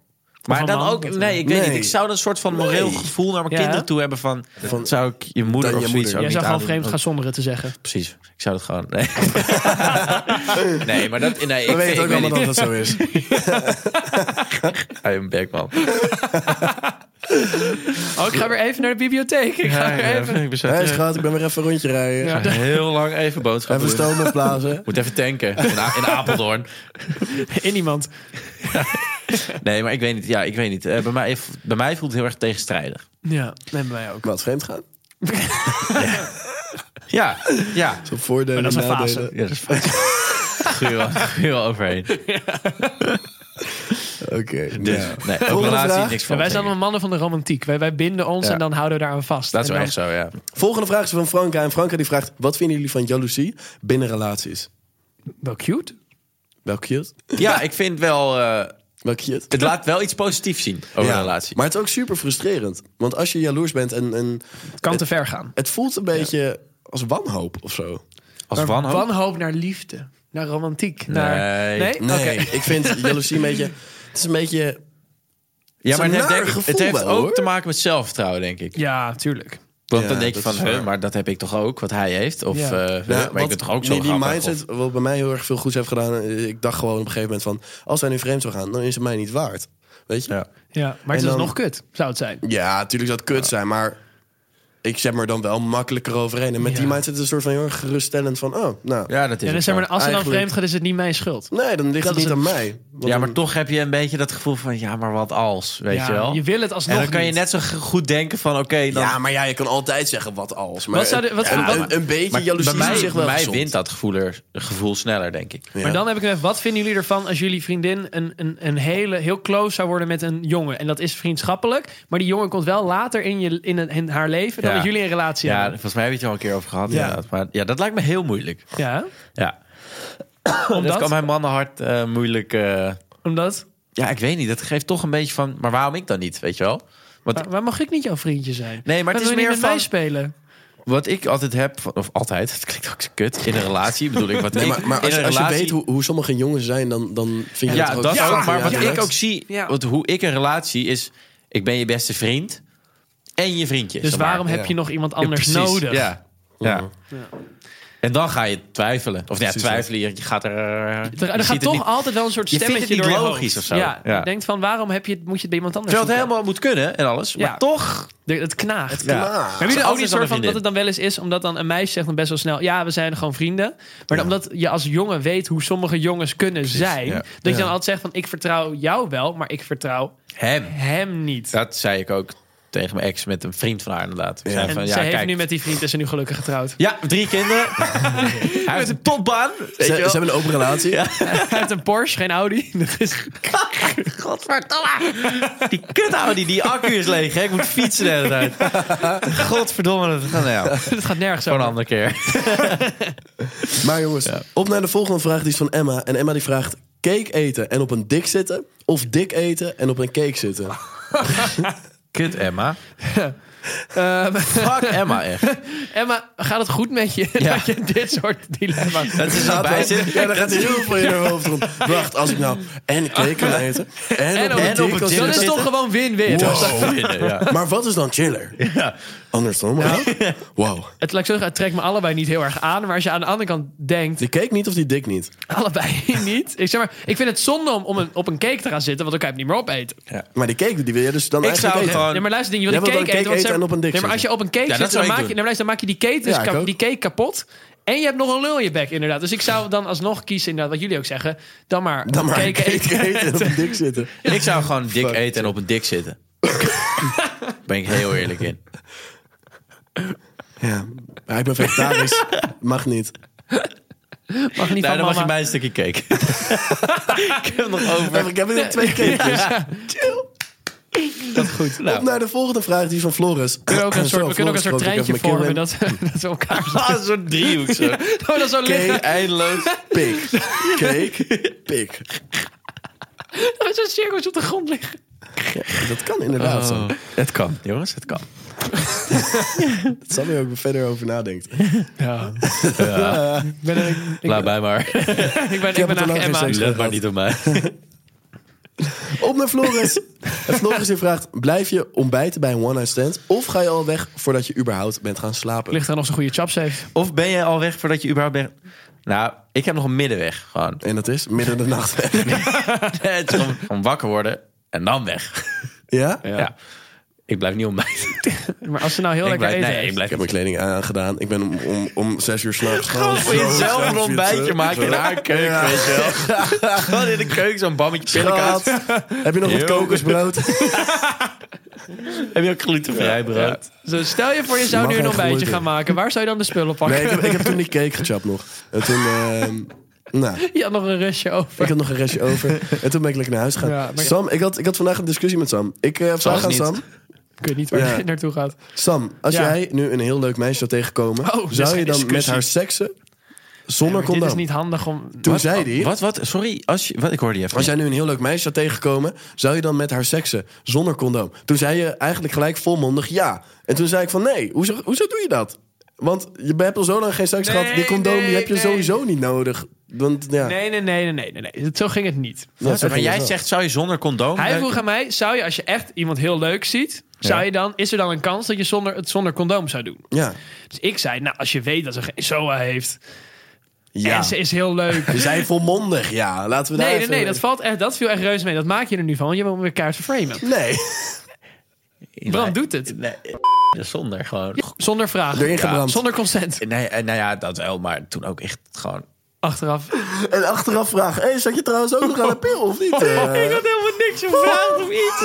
C: Maar
B: een
C: dan
B: man,
C: ook,
B: dat-
C: nee, ik weet
A: Nee.
C: niet. Ik zou dan een soort van moreel
A: Nee.
C: gevoel naar mijn
B: Ja.
C: kinderen toe hebben van,
A: Van-
C: zou ik je moeder
A: Dan
C: of
A: je
C: zoiets ook
A: moeder.
B: Jij
C: niet
B: zou gewoon
C: aandoen?
B: vreemd gaan zonder het te zeggen.
C: Precies, ik zou dat gewoon, nee. nee, maar dat, nee,
A: We
C: ik, weet,
A: weten
C: ik
A: ook
C: weet
A: allemaal
C: niet.
A: dat dat zo is.
C: I am back, man.
B: Oh, ik ga weer even naar de bibliotheek. Ik ga
C: Ja,
B: weer
C: ja,
B: even...
C: ik ben zo-
A: Hé, schat, ik ben weer even een rondje rijden.
B: Ja.
C: Heel lang even boodschappen
A: Even
C: doen.
A: stoom opblazen.
C: Moet even tanken in, A- in Apeldoorn.
B: In iemand.
C: Nee, maar ik weet niet. Ja, ik weet niet. Eh, bij, mij, bij mij voelt het heel erg tegenstrijdig.
B: Ja, nemen wij ook.
A: Wat, vreemd gaan?
C: Ja, ja.
A: Zo voordelen,
B: Maar dat is een fase.
A: nadelen.
C: Ja, dat is fijn. Goeie wel, goeie wel overheen.
A: Oké.
C: Dus,
A: ja.
C: nee, ook
A: Volgende
C: relatie, niks van.
B: Ja, wij
A: vraag.
C: denk
B: zijn
C: ik.
B: allemaal mannen van de romantiek. Wij, wij binden ons
C: Ja.
B: en dan houden we daaraan vast.
C: Dat is
B: En
C: wel
B: dan-
C: echt zo, ja.
A: Volgende vraag is van Franka. En Franka die vraagt, wat vinden jullie van jaloezie binnen relaties?
B: Wel cute.
A: Wel cute.
C: Ja, ik vind wel... eh,
A: Wel cute.
C: het laat wel iets positiefs zien over een relatie.
A: Maar het is ook super frustrerend. Want als je jaloers bent en, en
B: Het kan te ver gaan.
A: het voelt een beetje als wanhoop of zo.
C: Als wanhoop?
B: Wanhoop naar liefde. Naar romantiek. Naar...
C: Nee.
B: nee?
A: Nee,
B: Oké.
A: ik vind jaloezie een beetje... Het is een beetje...
C: Ja, maar
A: een
C: het heeft,
A: naar
C: denk ik-
A: gevoel
C: het heeft
A: wel,
C: ook
A: hoor.
C: te maken met zelfvertrouwen, denk ik.
B: Ja, tuurlijk.
C: Want
A: Ja,
C: dan denk je
A: dat
C: van,
A: is
C: hè,
A: waar.
C: maar dat heb ik toch ook, wat hij heeft? Of,
B: Ja.
C: eh,
B: Nou,
C: hè, maar ik
A: wat
C: ben toch ook zo
A: die, die
C: grappig,
A: mindset,
C: of-
A: wat bij mij heel erg veel goeds heeft gedaan. eh, Ik dacht gewoon op een gegeven moment van... als hij nu vreemd zou gaan, dan is het mij niet waard. Weet je?
C: Ja.
B: Ja, maar het
A: En
B: is
A: dan-
B: nog kut, zou het zijn.
A: Ja, natuurlijk zou het kut zijn, maar ik zet me er dan wel makkelijker overheen. En met
B: Ja.
A: die mindset is een soort van heel erg geruststellend van, oh, nou.
C: ja, dat is
B: Ja,
C: ook
B: dus zeg maar,
C: zo.
B: als ze dan
A: Eigenlijk-
B: vreemd gaat, is het niet mijn schuld.
A: Nee, dan ligt
B: Dat
A: het niet
B: is
A: aan
B: het.
A: mij. Want
C: Ja, maar
A: dan-
C: toch heb je een beetje dat gevoel van, ja, maar wat als, weet
B: ja,
C: je wel?
B: wil het alsnog
C: en dan kan je
B: niet.
C: net zo g- goed denken van, oké, dan...
A: Ja, maar ja, je kan altijd zeggen wat als. Maar
B: Wat zou de- wat-
A: ja,
B: wat-
A: een, een beetje
C: Maar
A: jaloezie
C: bij mij,
A: is zich wel
C: bij mij
A: gezond.
C: wint dat gevoel, er, gevoel sneller, denk ik.
A: Ja.
B: Maar dan heb ik nog even, wat vinden jullie ervan als jullie vriendin een, een, een hele, heel close zou worden met een jongen? En dat is vriendschappelijk, maar die jongen komt wel later in, je, in, het- in haar leven dan
C: Ja.
B: dat jullie een relatie
C: Ja,
B: hebben.
C: volgens mij heb je het er al een keer over gehad.
A: Ja.
C: inderdaad. Maar ja, dat lijkt me heel moeilijk.
B: Ja,
C: Ja. Dat
B: omdat,
C: kan mijn mannenhart eh, moeilijk... eh,
B: omdat
C: ja, ik weet niet. Dat geeft toch een beetje van, maar waarom ik dan niet, weet je wel? Want
B: waar, waar mag ik niet jouw vriendje zijn?
C: Nee, maar
B: Waarom
C: het is
B: wil je
C: meer
B: niet met mij
C: van-
B: spelen.
C: wat ik altijd heb, van- of altijd, het klinkt ook zo kut, in een relatie bedoel ik. Wat
A: Nee,
C: ik-
A: maar, maar
C: in
A: als, je,
C: een
A: als je
C: relatie-
A: weet hoe, hoe sommige jongens zijn, dan, dan vind je
C: Ja,
A: dat
C: dat,
A: ook... Ja,
C: ook. Maar wat
A: ja,
C: ik ook zie,
B: Ja.
C: wat, hoe ik een relatie is, ik ben je beste vriend en je vriendje.
B: Dus
C: zeg maar.
B: waarom
A: ja.
B: heb je nog iemand anders
C: Ja, precies.
B: nodig?
C: Ja. Ja. En dan ga je twijfelen. Of nou ja,
A: Precies, ja.
C: twijfelen, je je gaat er... eh, je
B: Er, er
C: ziet
B: gaat
C: het
B: toch
C: niet-
B: altijd wel een soort
C: Je vindt
B: stemmetje
C: het niet
B: door je
C: logisch
B: hoofd.
C: of zo.
B: Ja,
C: Ja.
B: je denkt van waarom heb je, het- moet je het bij iemand anders
C: Terwijl het
B: zoeken?
C: helemaal moet kunnen en alles,
B: Ja.
C: maar toch...
B: De- Het knaagt.
C: Ja.
A: klaar.
B: Heb je
C: Ze
B: er ook
C: altijd dan
B: niet soort
C: een
B: van dat
C: vriendin.
B: het dan wel eens is, omdat dan een meisje zegt dan best wel snel, ja, we zijn gewoon vrienden. Maar
A: Ja.
B: dan omdat je als jongen weet hoe sommige jongens kunnen zijn,
C: ja.
B: dat je dan altijd zegt van, ik vertrouw jou wel, maar ik vertrouw
C: Hem.
B: hem niet.
C: Dat zei ik ook tegen mijn ex met een vriend van haar inderdaad. We
A: Ja.
C: zeiden
B: En
C: van,
B: zij heeft
C: kijk,
B: nu met die vriend is ze nu gelukkig getrouwd.
C: Ja, drie kinderen. Hij heeft een topbaan.
A: Ze, ze hebben een open relatie.
B: Hij heeft een Porsche, geen Audi. Dat is,
C: Godverdomme. Die kut Audi, die accu is leeg. Hè? Ik moet fietsen de hele tijd. Godverdomme. Dat gaat, nou ja,
B: dat gaat nergens
C: voor een
B: over.
C: andere keer.
A: Maar jongens, op naar de volgende vraag. Die is van Emma. En Emma die vraagt... Cake eten en op een dik zitten? Of dik eten en op een cake zitten?
C: Kut Emma.
B: Ehm,
C: Fuck Emma echt.
B: Emma, gaat het goed met je
C: Ja.
B: dat je dit soort dilemma's...
C: Dat is zo bij zit.
A: Ja, daar gaat heel veel in haar hoofd rond. Wacht, als ik nou en cake kan eten... En, op een
C: en op
A: dik
C: een
A: kan
C: dik
B: Dat is
A: zitten.
B: toch gewoon win-win.
C: Wow. Ja.
A: Maar wat is dan chiller? Andersom. hè? Wow.
B: Het, laat ik zo zeggen, het trekt me allebei niet heel erg aan. Maar als je aan de andere kant denkt,
A: Die cake niet of die dik niet?
B: Allebei niet. Ik, zeg maar, ik vind het zonde om, om een, op een cake te gaan zitten, want dan kan je het niet meer opeten.
A: Maar die cake die wil je dus dan
C: Ik
A: eigenlijk
C: zou
A: eten.
C: gewoon...
B: Nee, maar luister, ding, je wil
A: Jij
B: die
A: wilt
B: cake,
A: dan
B: eten. want
A: cake
B: zeg-
A: eten en op een dik
B: nee, maar als je op een cake
C: dat
B: zit,
C: zou
B: dan
C: ik
B: maak, je,
C: doen.
B: nee, maar luister, dan maak je die cake, dus
A: Ja, ik
B: kap-
A: ook.
B: die cake kapot. En je hebt nog een lul in je bek, inderdaad. Dus ik zou dan alsnog kiezen, inderdaad, wat jullie ook zeggen, dan maar,
A: Dan maar een
B: cake
A: cake
B: eten.
A: eten, en op een dik zitten.
C: Ik zou gewoon dik eten en op een dik zitten. ben ik heel eerlijk in.
A: Ja. Maar ik ben vegetarisch. Mag niet.
B: Mag niet
C: Nou, dan mag
B: van mama.
C: je mij een stukje cake. ik heb nog over.
A: Ik heb weer twee cakejes.
C: Dat is goed.
A: Op naar de volgende vraag, die is van Floris.
B: We kunnen ook een soort,
A: Zo,
B: we kunnen ook een
A: Floris
B: soort
A: schrok ik even
B: treintje
A: mijn keel
B: vormen
A: in.
B: dat, dat we elkaar zo-
C: Ah, zo'n driehoek zo.
B: dat we zo liggen.
C: Eindeloos.
A: Pik. Cake. Pik.
B: Dat we zo'n cirkels op de grond liggen.
A: Dat kan
B: Oh.
A: inderdaad zo.
C: Nou, Het kan, jongens, het kan.
A: Dat Sammy ook verder over nadenkt.
B: Ja. Ik ben, ik, ik,
C: Laat mij maar.
B: ben, ik ben
A: heb het er
B: eigenlijk
A: lang geen
B: Emma.
A: zin in.
C: Let maar niet op mij.
A: Op naar Floris. En Floris die vraagt, blijf je ontbijten bij een one-night stand... of ga je al weg voordat je überhaupt bent gaan slapen?
B: Ligt er nog zo'n goede chaps heeft.
C: Of ben je al weg voordat je überhaupt bent? Nou, ik heb nog een middenweg. Gewoon.
A: En dat is midden in de nacht weg.
C: Het is om, om wakker worden en dan weg.
A: Ja?
C: Ja. Ik blijf niet ontbijten.
B: Maar als ze nou heel
C: Ik
B: lekker
C: blijf, nee,
B: eten
C: ik
B: heeft.
A: Ik
C: blijf
A: heb mijn kleding aangedaan. Ik ben om, om, om zes uur s'nachts
C: gewoon voor jezelf een ontbijtje maken in
A: maken.
C: haar keuken, weet je wel. Gewoon in de keuken zo'n bammetje pindakaas.
A: Heb je nog wat
C: Yo.
A: kokosbrood?
C: Heb je ook glutenvrij brood?
B: Zo, stel je voor, je zou
A: Mag
B: nu een
A: geen
B: ontbijtje
A: groente.
B: gaan maken. Waar zou je dan de spullen pakken?
A: Nee, ik heb, ik heb toen die cake gechapt nog. En toen... ehm, nou,
B: Je had nog een restje over.
A: ik had nog een restje over. En toen ben ik lekker naar huis gegaan.
B: Ja, maar-
A: Sam, ik had, ik had vandaag een discussie met Sam. Ik eh vraag aan
C: niet.
A: Sam.
B: Ik weet niet waar
A: Ja.
B: je naartoe gaat.
A: Sam, als
B: Ja.
A: jij nu een heel leuk meisje zou tegenkomen...
B: Oh, dit is
A: zou je
B: geen
A: dan met
B: discussie.
A: haar seksen
B: Ja,
A: zonder
B: maar dit
A: condoom?
B: is niet handig om...
A: Toen zei hij...
C: Wat, wat? Sorry, als je, wat, ik hoorde je even.
A: Als jij nu een heel leuk meisje zou tegenkomen, zou je dan met haar seksen zonder condoom? Toen zei je eigenlijk gelijk volmondig ja. En toen zei ik van nee, hoezo, hoezo doe je dat? Want je hebt al zo lang geen seks
B: Nee,
A: gehad. Die condoom die
B: nee,
A: heb je
B: nee.
A: sowieso niet nodig. Want ja,
B: Nee, nee, nee, nee, nee, nee, nee. Zo ging het niet.
A: dat zeg
C: maar
A: ik
C: jij
A: wel.
C: zegt, zou je zonder condoom...
B: Hij
C: neuken?
B: vroeg aan mij, zou je als je echt iemand heel leuk ziet, zou
C: Ja.
B: je dan, is er dan een kans dat je zonder, het zonder condoom zou doen?
A: Ja.
B: Dus ik zei, nou, als je weet dat ze geen SOA heeft en
A: ja.
B: ze is heel leuk.
A: Je zei volmondig, ja. Laten we daar
B: Nee, nee,
A: even-
B: nee, dat, valt echt, dat viel echt reuze mee. Dat maak je er nu van, want je wil hem weer kaart framen.
A: Nee,
B: Bram doet het.
C: Zonder gewoon...
B: Zonder
A: erin
B: vraag.
A: gebrand.
B: Zonder consent.
C: Nee, eh, nou ja, dat wel, maar toen ook echt gewoon...
B: Achteraf.
A: En achteraf vraag, hey, zat je trouwens ook nog aan de pil of niet? Eh,
C: had helemaal niks gevraagd of iets.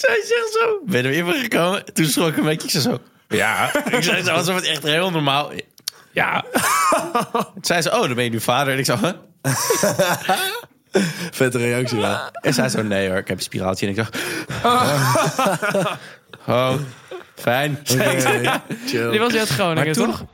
C: Zij zegt zo... Ben je er even gekomen? Toen schrok ik een beetje. Ik zei zo... Ja. ik zei zo alsof het echt heel normaal... Ja. Toen zei ze, oh, dan ben je nu vader. En ik zo, huh?
A: Vette reactie, ja.
C: En zij zo, nee hoor, ik heb een spiraaltje. En ik zo... Oh, fijn.
A: Oké, chill.
B: Die was uit
C: Maar
B: Groningen,
C: toen-
B: toch?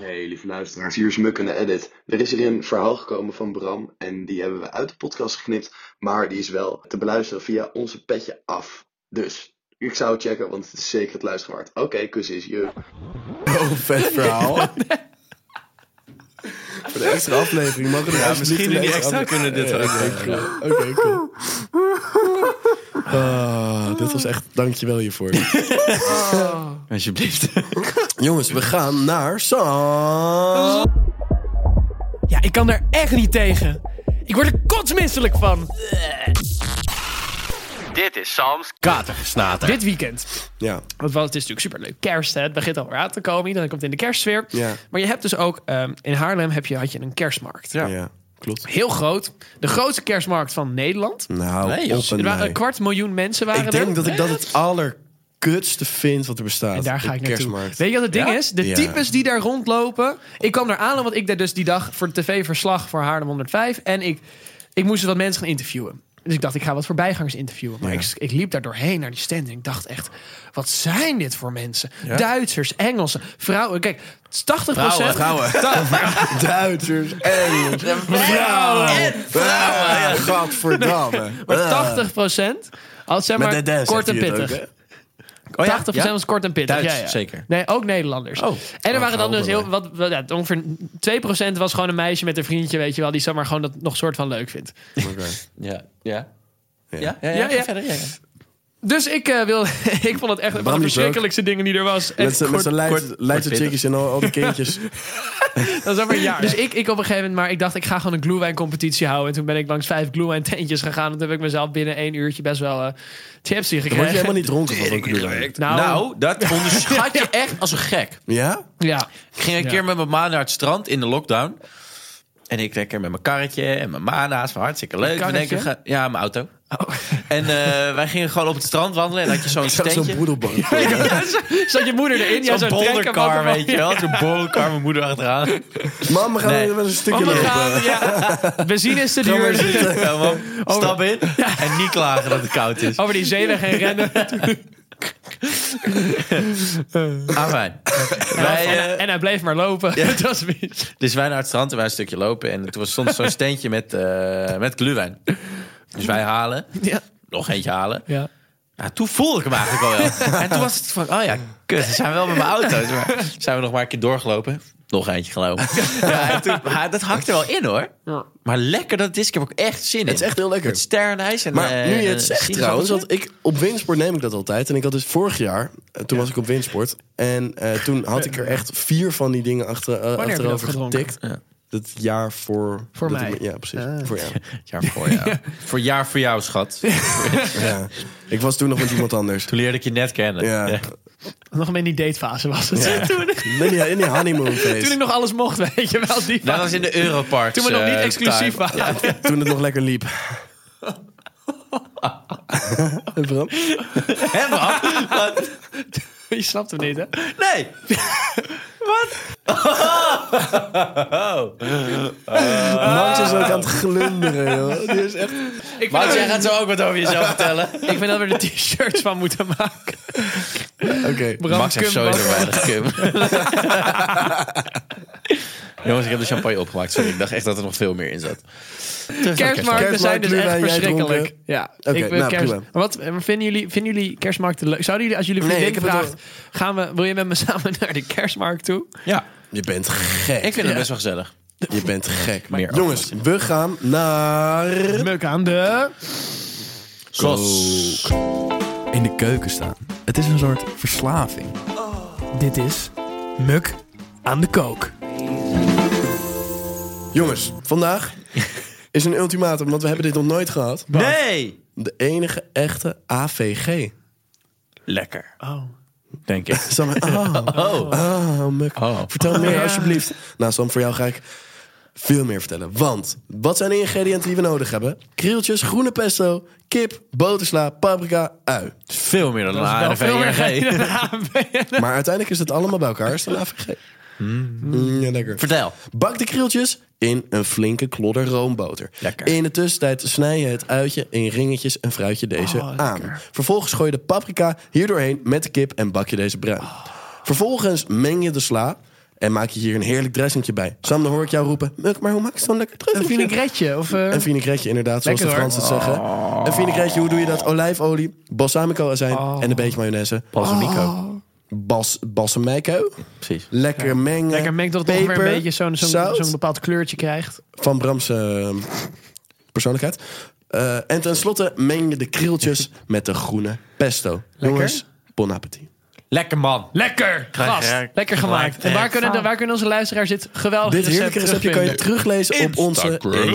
E: Nee, lieve luisteraars, hier is Muk in de edit. Er is hier een verhaal gekomen van Bram en die hebben we uit de podcast geknipt, maar die is wel te beluisteren via onze petje af. Dus, ik zou het checken, want het is zeker het luisteren waard. Oké, kus is je.
A: Oh, vet verhaal. Voor de extra aflevering mogen we er
C: Ja,
A: alsjeblieft
C: misschien in
A: een
C: die extra kunnen dit
A: Ja,
C: ook.
A: ja, ja, ja. Oké, cool. Ah, dit was echt, dankjewel hiervoor.
C: Alsjeblieft.
A: Jongens, we gaan naar Sam.
B: Ja, ik kan daar echt niet tegen. Ik word er kotsmisselijk van.
C: Dit is Sam's Katergesnater.
B: Dit weekend.
A: Ja,
B: Want wel, het is natuurlijk superleuk. Kerst, hè. Het begint al aan te komen. Iedereen komt in de kerstsfeer.
A: Ja.
B: Maar je hebt dus ook... ehm, in Haarlem heb je, had je een kerstmarkt.
A: ja. klopt.
B: Heel groot. De grootste kerstmarkt van Nederland.
A: Nou,
C: Nee, joh.
A: op en
B: Er waren
A: nij.
B: een kwart miljoen mensen waren
A: Ik denk
B: er.
A: dat ik dat het allerkutste vind wat er bestaat.
B: En daar ga
A: Een
B: ik naartoe.
A: kerstmarkt.
B: Weet je wat het ding
C: Ja?
B: is? De
A: Ja.
B: types die daar rondlopen. Ik kwam daar aan, want ik deed dus die dag voor de tv-verslag voor Haarlem 105. En ik, ik moest wat mensen gaan interviewen. Dus ik dacht, ik ga wat voorbijgangers interviewen. Maar
A: Ja.
B: ik, ik liep daar doorheen naar die stand en ik dacht echt... Wat zijn dit voor mensen? Duitsers, Engelsen, vrouwen. Kijk, 80%...
C: Vrouwen,
A: Vrouwen. Duitsers en vrouwen.
C: Oh
A: Ah, Gadverdamme.
B: Maar 80%, als zeg
A: Met
B: maar
A: Dede
B: kort en
A: zegt hij het
B: pittig.
A: ook, hè?
B: 80% was kort en pittig.
C: Duits,
B: ja, ja.
C: zeker.
B: Nee, ook Nederlanders.
A: Oh.
B: en er
A: Oh,
B: waren dan dus heel
A: geweldig.
B: wat, wat- ja, ongeveer 2% was gewoon een meisje met een vriendje, weet je wel, die zomaar gewoon dat nog soort van leuk vindt.
A: Oké.
C: Ja. Ja. Ja, ja,
B: Ja,
C: ga
B: ja.
C: verder. ja, ja.
B: Dus ik eh, wil, ik vond het echt een van de
A: Bram is
B: verschrikkelijkste dingen die er was. En
A: Met z'n- met
B: kort-
A: zijn Leidse
C: kort-
A: Leidse
C: kort
A: chickies en al, al die kindjes.
B: dat is over een jaar. Dus ik, ik op een gegeven moment, maar ik dacht ik ga gewoon een gluewijn competitie houden. En toen ben ik langs vijf gluewijn tentjes gegaan. En toen heb ik mezelf binnen één uurtje best wel eh tipsy gekregen.
A: Word je helemaal niet dronken van zo'n knullen?
B: Nou,
C: Nou, dat onderschat je echt als een gek.
A: Ja?
B: ja.
C: Ik ging een
B: Ja.
C: keer met mijn ma naar het strand in de lockdown. En ik lekker met mijn karretje en mijn ma naast me. Hartstikke leuk. We
B: karretje? Oh.
C: denken, ga- ja, mijn auto. En eh, wij gingen gewoon op het strand wandelen. En had je zo'n
A: Zo'n
C: steentje.
A: broedelbank.
B: Zat je moeder erin? Ja,
C: Zo'n
B: zo'n trekker,
C: boldercar,
B: wat-
C: weet je wel. Zo'n boldercar, mijn moeder achteraan.
A: Mam, we gaan
C: Nee.
A: even met een stukje
B: Mama
A: lopen.
B: gaan, ja. Benzine is te duur.
C: Ja, man. Stap in en niet klagen dat het koud is.
B: Over die zeeweg heen rennen.
C: Afijn. Wij,
B: en,
C: eh,
B: hij- en hij bleef maar lopen. dat was mis.
C: Dus wij naar het strand en wij een stukje lopen. En toen was soms zo'n steentje met, eh met glühwein. Dus wij halen.
B: Ja.
C: Nog eentje halen.
B: Ja.
C: Nou, toen voelde ik hem eigenlijk al wel. En toen was het van, oh ja, kut, we zijn wel met mijn auto. Toen zijn we nog maar een keer doorgelopen. Nog eentje gelopen. Ja, en toen- maar dat hakte wel in hoor. Maar lekker dat het is. Ik heb ook echt zin in.
A: Het is echt heel lekker.
C: Met sterrenijs. En,
A: Maar
C: eh,
A: nu je het
C: eh,
A: zegt
C: sinaasappels.
A: trouwens, want ik, op windsport neem ik dat altijd. En ik had dus vorig jaar, eh, toen was ik op windsport. En eh, toen had ik er echt vier van die dingen achter, eh,
B: je
A: achterover
B: dat gedronken?
A: getikt. Dat jaar voor...
B: Voor Ah.
A: dat
B: mij.
A: ik me- ja, precies. Voor jou.
C: Jaar voor jou. voor jaar voor jou, schat.
A: Ja. Ik was toen nog met iemand anders.
C: Toen leerde ik je net kennen.
A: Ja.
B: Nog in die datefase was het. Toen,
A: In die, in die honeymoon phase.
B: toen ik nog alles mocht, weet je wel. Die
C: Dat
A: Nou,
C: was in de eh, Europark.
B: toen we
A: eh,
B: nog niet exclusief waren.
A: Toen het nog lekker liep. En Bram?
C: Hè, man? Wat?
B: Je snapt hem niet, hè?
C: Nee.
A: Max is ook aan het glunderen, joh. Die is echt...
B: Ik vind,
C: Maar
B: dat
C: jij
B: we,
C: gaat zo ook wat over jezelf vertellen.
B: ik vind dat we er t-shirts van moeten maken.
A: Oké.
B: Bram
C: Max heeft
B: Kump was-
C: sowieso weinig cum. Jongens, ik heb de champagne opgemaakt. Sorry, ik dacht echt dat er nog veel meer in zat.
B: Kerstmarkten zijn dus echt
A: Kerstmarkt, Luna, jij
B: verschrikkelijk.
A: dronken?
B: Ja,
A: Oké,
B: ik ben
A: nou,
B: kerst.
A: prima.
B: Maar wat maar vinden jullie, vinden jullie kerstmarkten leuk? Zouden jullie, als jullie
A: Nee,
B: vriendin
A: ik heb het
B: vraagt, gaan we, wil je met me samen naar de kerstmarkt toe?
C: Ja,
A: Je bent gek.
C: ik vind het best wel gezellig.
A: Je bent gek.
C: Meer
A: Jongens, we gaan naar...
B: Meuk aan de...
C: Kos.
F: in de keuken staan. Het is een soort verslaving. Dit is Muk aan de kook.
A: Jongens, vandaag is een ultimatum, want we hebben dit nog nooit gehad.
C: Nee!
A: De enige echte AVG.
C: Lekker,
B: Oh.
C: denk ik.
A: Sam, oh,
C: Oh.
A: oh, Muk.
C: Oh.
A: Vertel meer, alsjeblieft. Nou, Sam, voor jou ga ik veel meer vertellen. Want, wat zijn de ingrediënten die we nodig hebben? Krieltjes, groene pesto, kip, botersla, paprika, ui.
C: Veel meer dan een
B: Wel veel meer
C: ARVRG.
B: dan AVG.
A: Maar uiteindelijk is het allemaal bij elkaar. Is het een AVG? Mm, ja, lekker.
C: Vertel.
A: Bak de krieltjes in een flinke klodder roomboter.
C: Lekker.
A: In de tussentijd snij je het uitje in ringetjes en fruit je deze
B: Oh,
A: aan. Vervolgens gooi je de paprika hierdoorheen met de kip en bak je deze bruin.
B: Oh.
A: Vervolgens meng je de sla en maak je hier een heerlijk dressingje bij. Sam, dan hoor ik jou roepen... Muk, maar hoe maak je zo'n lekker
B: Een
A: dressingje?
B: vinaigretje of... eh,
A: Een vinaigretje, inderdaad, zoals
B: Lekker,
A: de Fransen het zeggen. Een vinaigretje, hoe doe je dat? Olijfolie, balsamico-azijn
B: Oh.
A: en een beetje mayonaise.
C: Balsamico.
A: Bas, balsamico?
C: Precies.
A: Lekker mengen.
B: Lekker mengt dat het ongeveer
A: peper,
B: een beetje zo'n zo'n-
A: zout.
B: zo'n bepaald kleurtje krijgt.
A: Van Brams eh, persoonlijkheid. Eh, en tenslotte meng je de krieltjes met de groene pesto. Jongens, bon appetit.
C: Lekker man.
B: Lekker! Gast!
C: Gelijk.
B: Lekker gemaakt. En waar kunnen, de- waar kunnen onze luisteraars dit geweldige
A: Dit heerlijke
B: recept
A: receptje kan je
B: terugvinden?
A: teruglezen op onze
C: Instagram.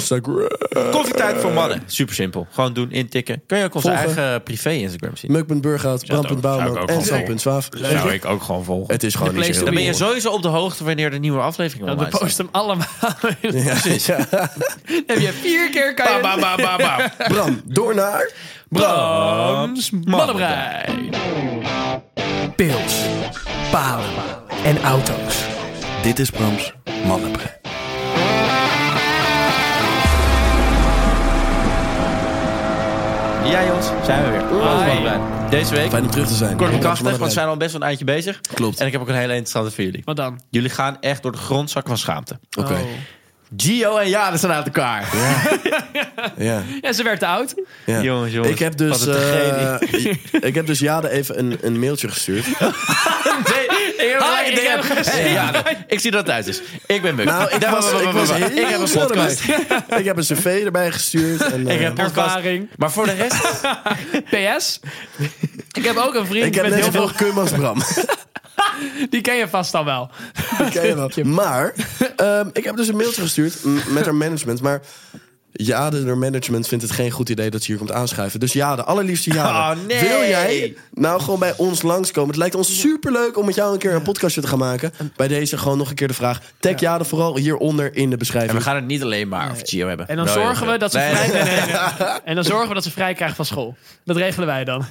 A: Instagram.
C: Koffietijd voor mannen. Super simpel. Gewoon doen, intikken. Kun je ook onze
A: Volgen.
C: eigen eh, privé Instagram zien.
A: Muk.burghout,
C: zou ik
A: Bram.bouwman
C: ook
A: en
C: gewoon
A: Sam.zwaaf.
C: Zou ik ook gewoon volgen.
A: Het is gewoon
B: De
A: niet zo
B: Play
A: heel
C: Dan ben je
A: moeilijk.
C: sowieso op de hoogte wanneer de nieuwe aflevering
B: Want
C: online
B: we
C: staat.
B: posten hem allemaal.
A: Ja, ja.
B: heb je vier keer kan je...
C: Ba, ba, ba, ba, ba.
A: Bram, door naar...
B: Brams
C: Mannenbrein.
B: Mannenbrein.
F: Pils, palen en auto's.
G: Dit is Brams Mannenbrein.
C: Ja, jongens, zijn we weer. Alles mannenbrein. Deze week.
A: Fijn om terug te zijn.
C: Kort en krachtig, want we
A: Mannenbrein.
C: zijn al best wel een eindje bezig.
A: Klopt.
C: En ik heb ook een hele interessante voor jullie.
B: Wat dan?
C: Jullie gaan echt door de grondzakken van schaamte.
A: Oké,
B: Oh.
C: Gio en Jade staan uit elkaar.
A: ja.
B: Ja, ze werd te oud.
A: Ja.
C: Jongens, jongens.
A: Ik heb dus,
C: Wat een
A: eh, ik heb dus Jade even een, een mailtje gestuurd.
C: Nee, ik heb
B: Hi, ik heb
C: een
B: gezien.
C: Hey, Jade, ik zie dat het uit is. Ik ben Muk.
A: Nou, ik
C: Daar- wa-
A: was,
C: wa-
A: ik
C: wa-
A: was
C: wa- wa-
A: heel
C: ik heb een
A: snel erbij.
C: podcast.
A: Ik heb een cv erbij gestuurd. En, eh,
C: Ik heb een podcast.
B: Ervaring.
C: Maar voor de rest...
B: PS. Ik heb ook een vriend
A: ik heb
B: met
A: net
B: heel
A: zoveel
B: veel...
A: cum als Bram.
B: Die ken je vast al wel.
A: Ken je wel. Maar ehm, ik heb dus een mailtje gestuurd m- met haar management. Maar Jade, haar management, vindt het geen goed idee dat ze hier komt aanschuiven. Dus Jade, allerliefste Jade.
C: Oh, nee.
A: Wil jij nou gewoon bij ons langskomen? Het lijkt ons superleuk om met jou een keer een podcastje te gaan maken. Bij deze gewoon nog een keer de vraag. Tag Jade vooral hieronder in de
C: En we
A: beschrijving.
C: gaan het niet alleen maar over Gio hebben.
B: En dan
A: Nou,
C: Nee,
B: zorgen we dat ze
C: nee,
B: vrij... nee, nee, nee. En dan zorgen we dat ze vrij krijgen van school. Dat regelen wij dan.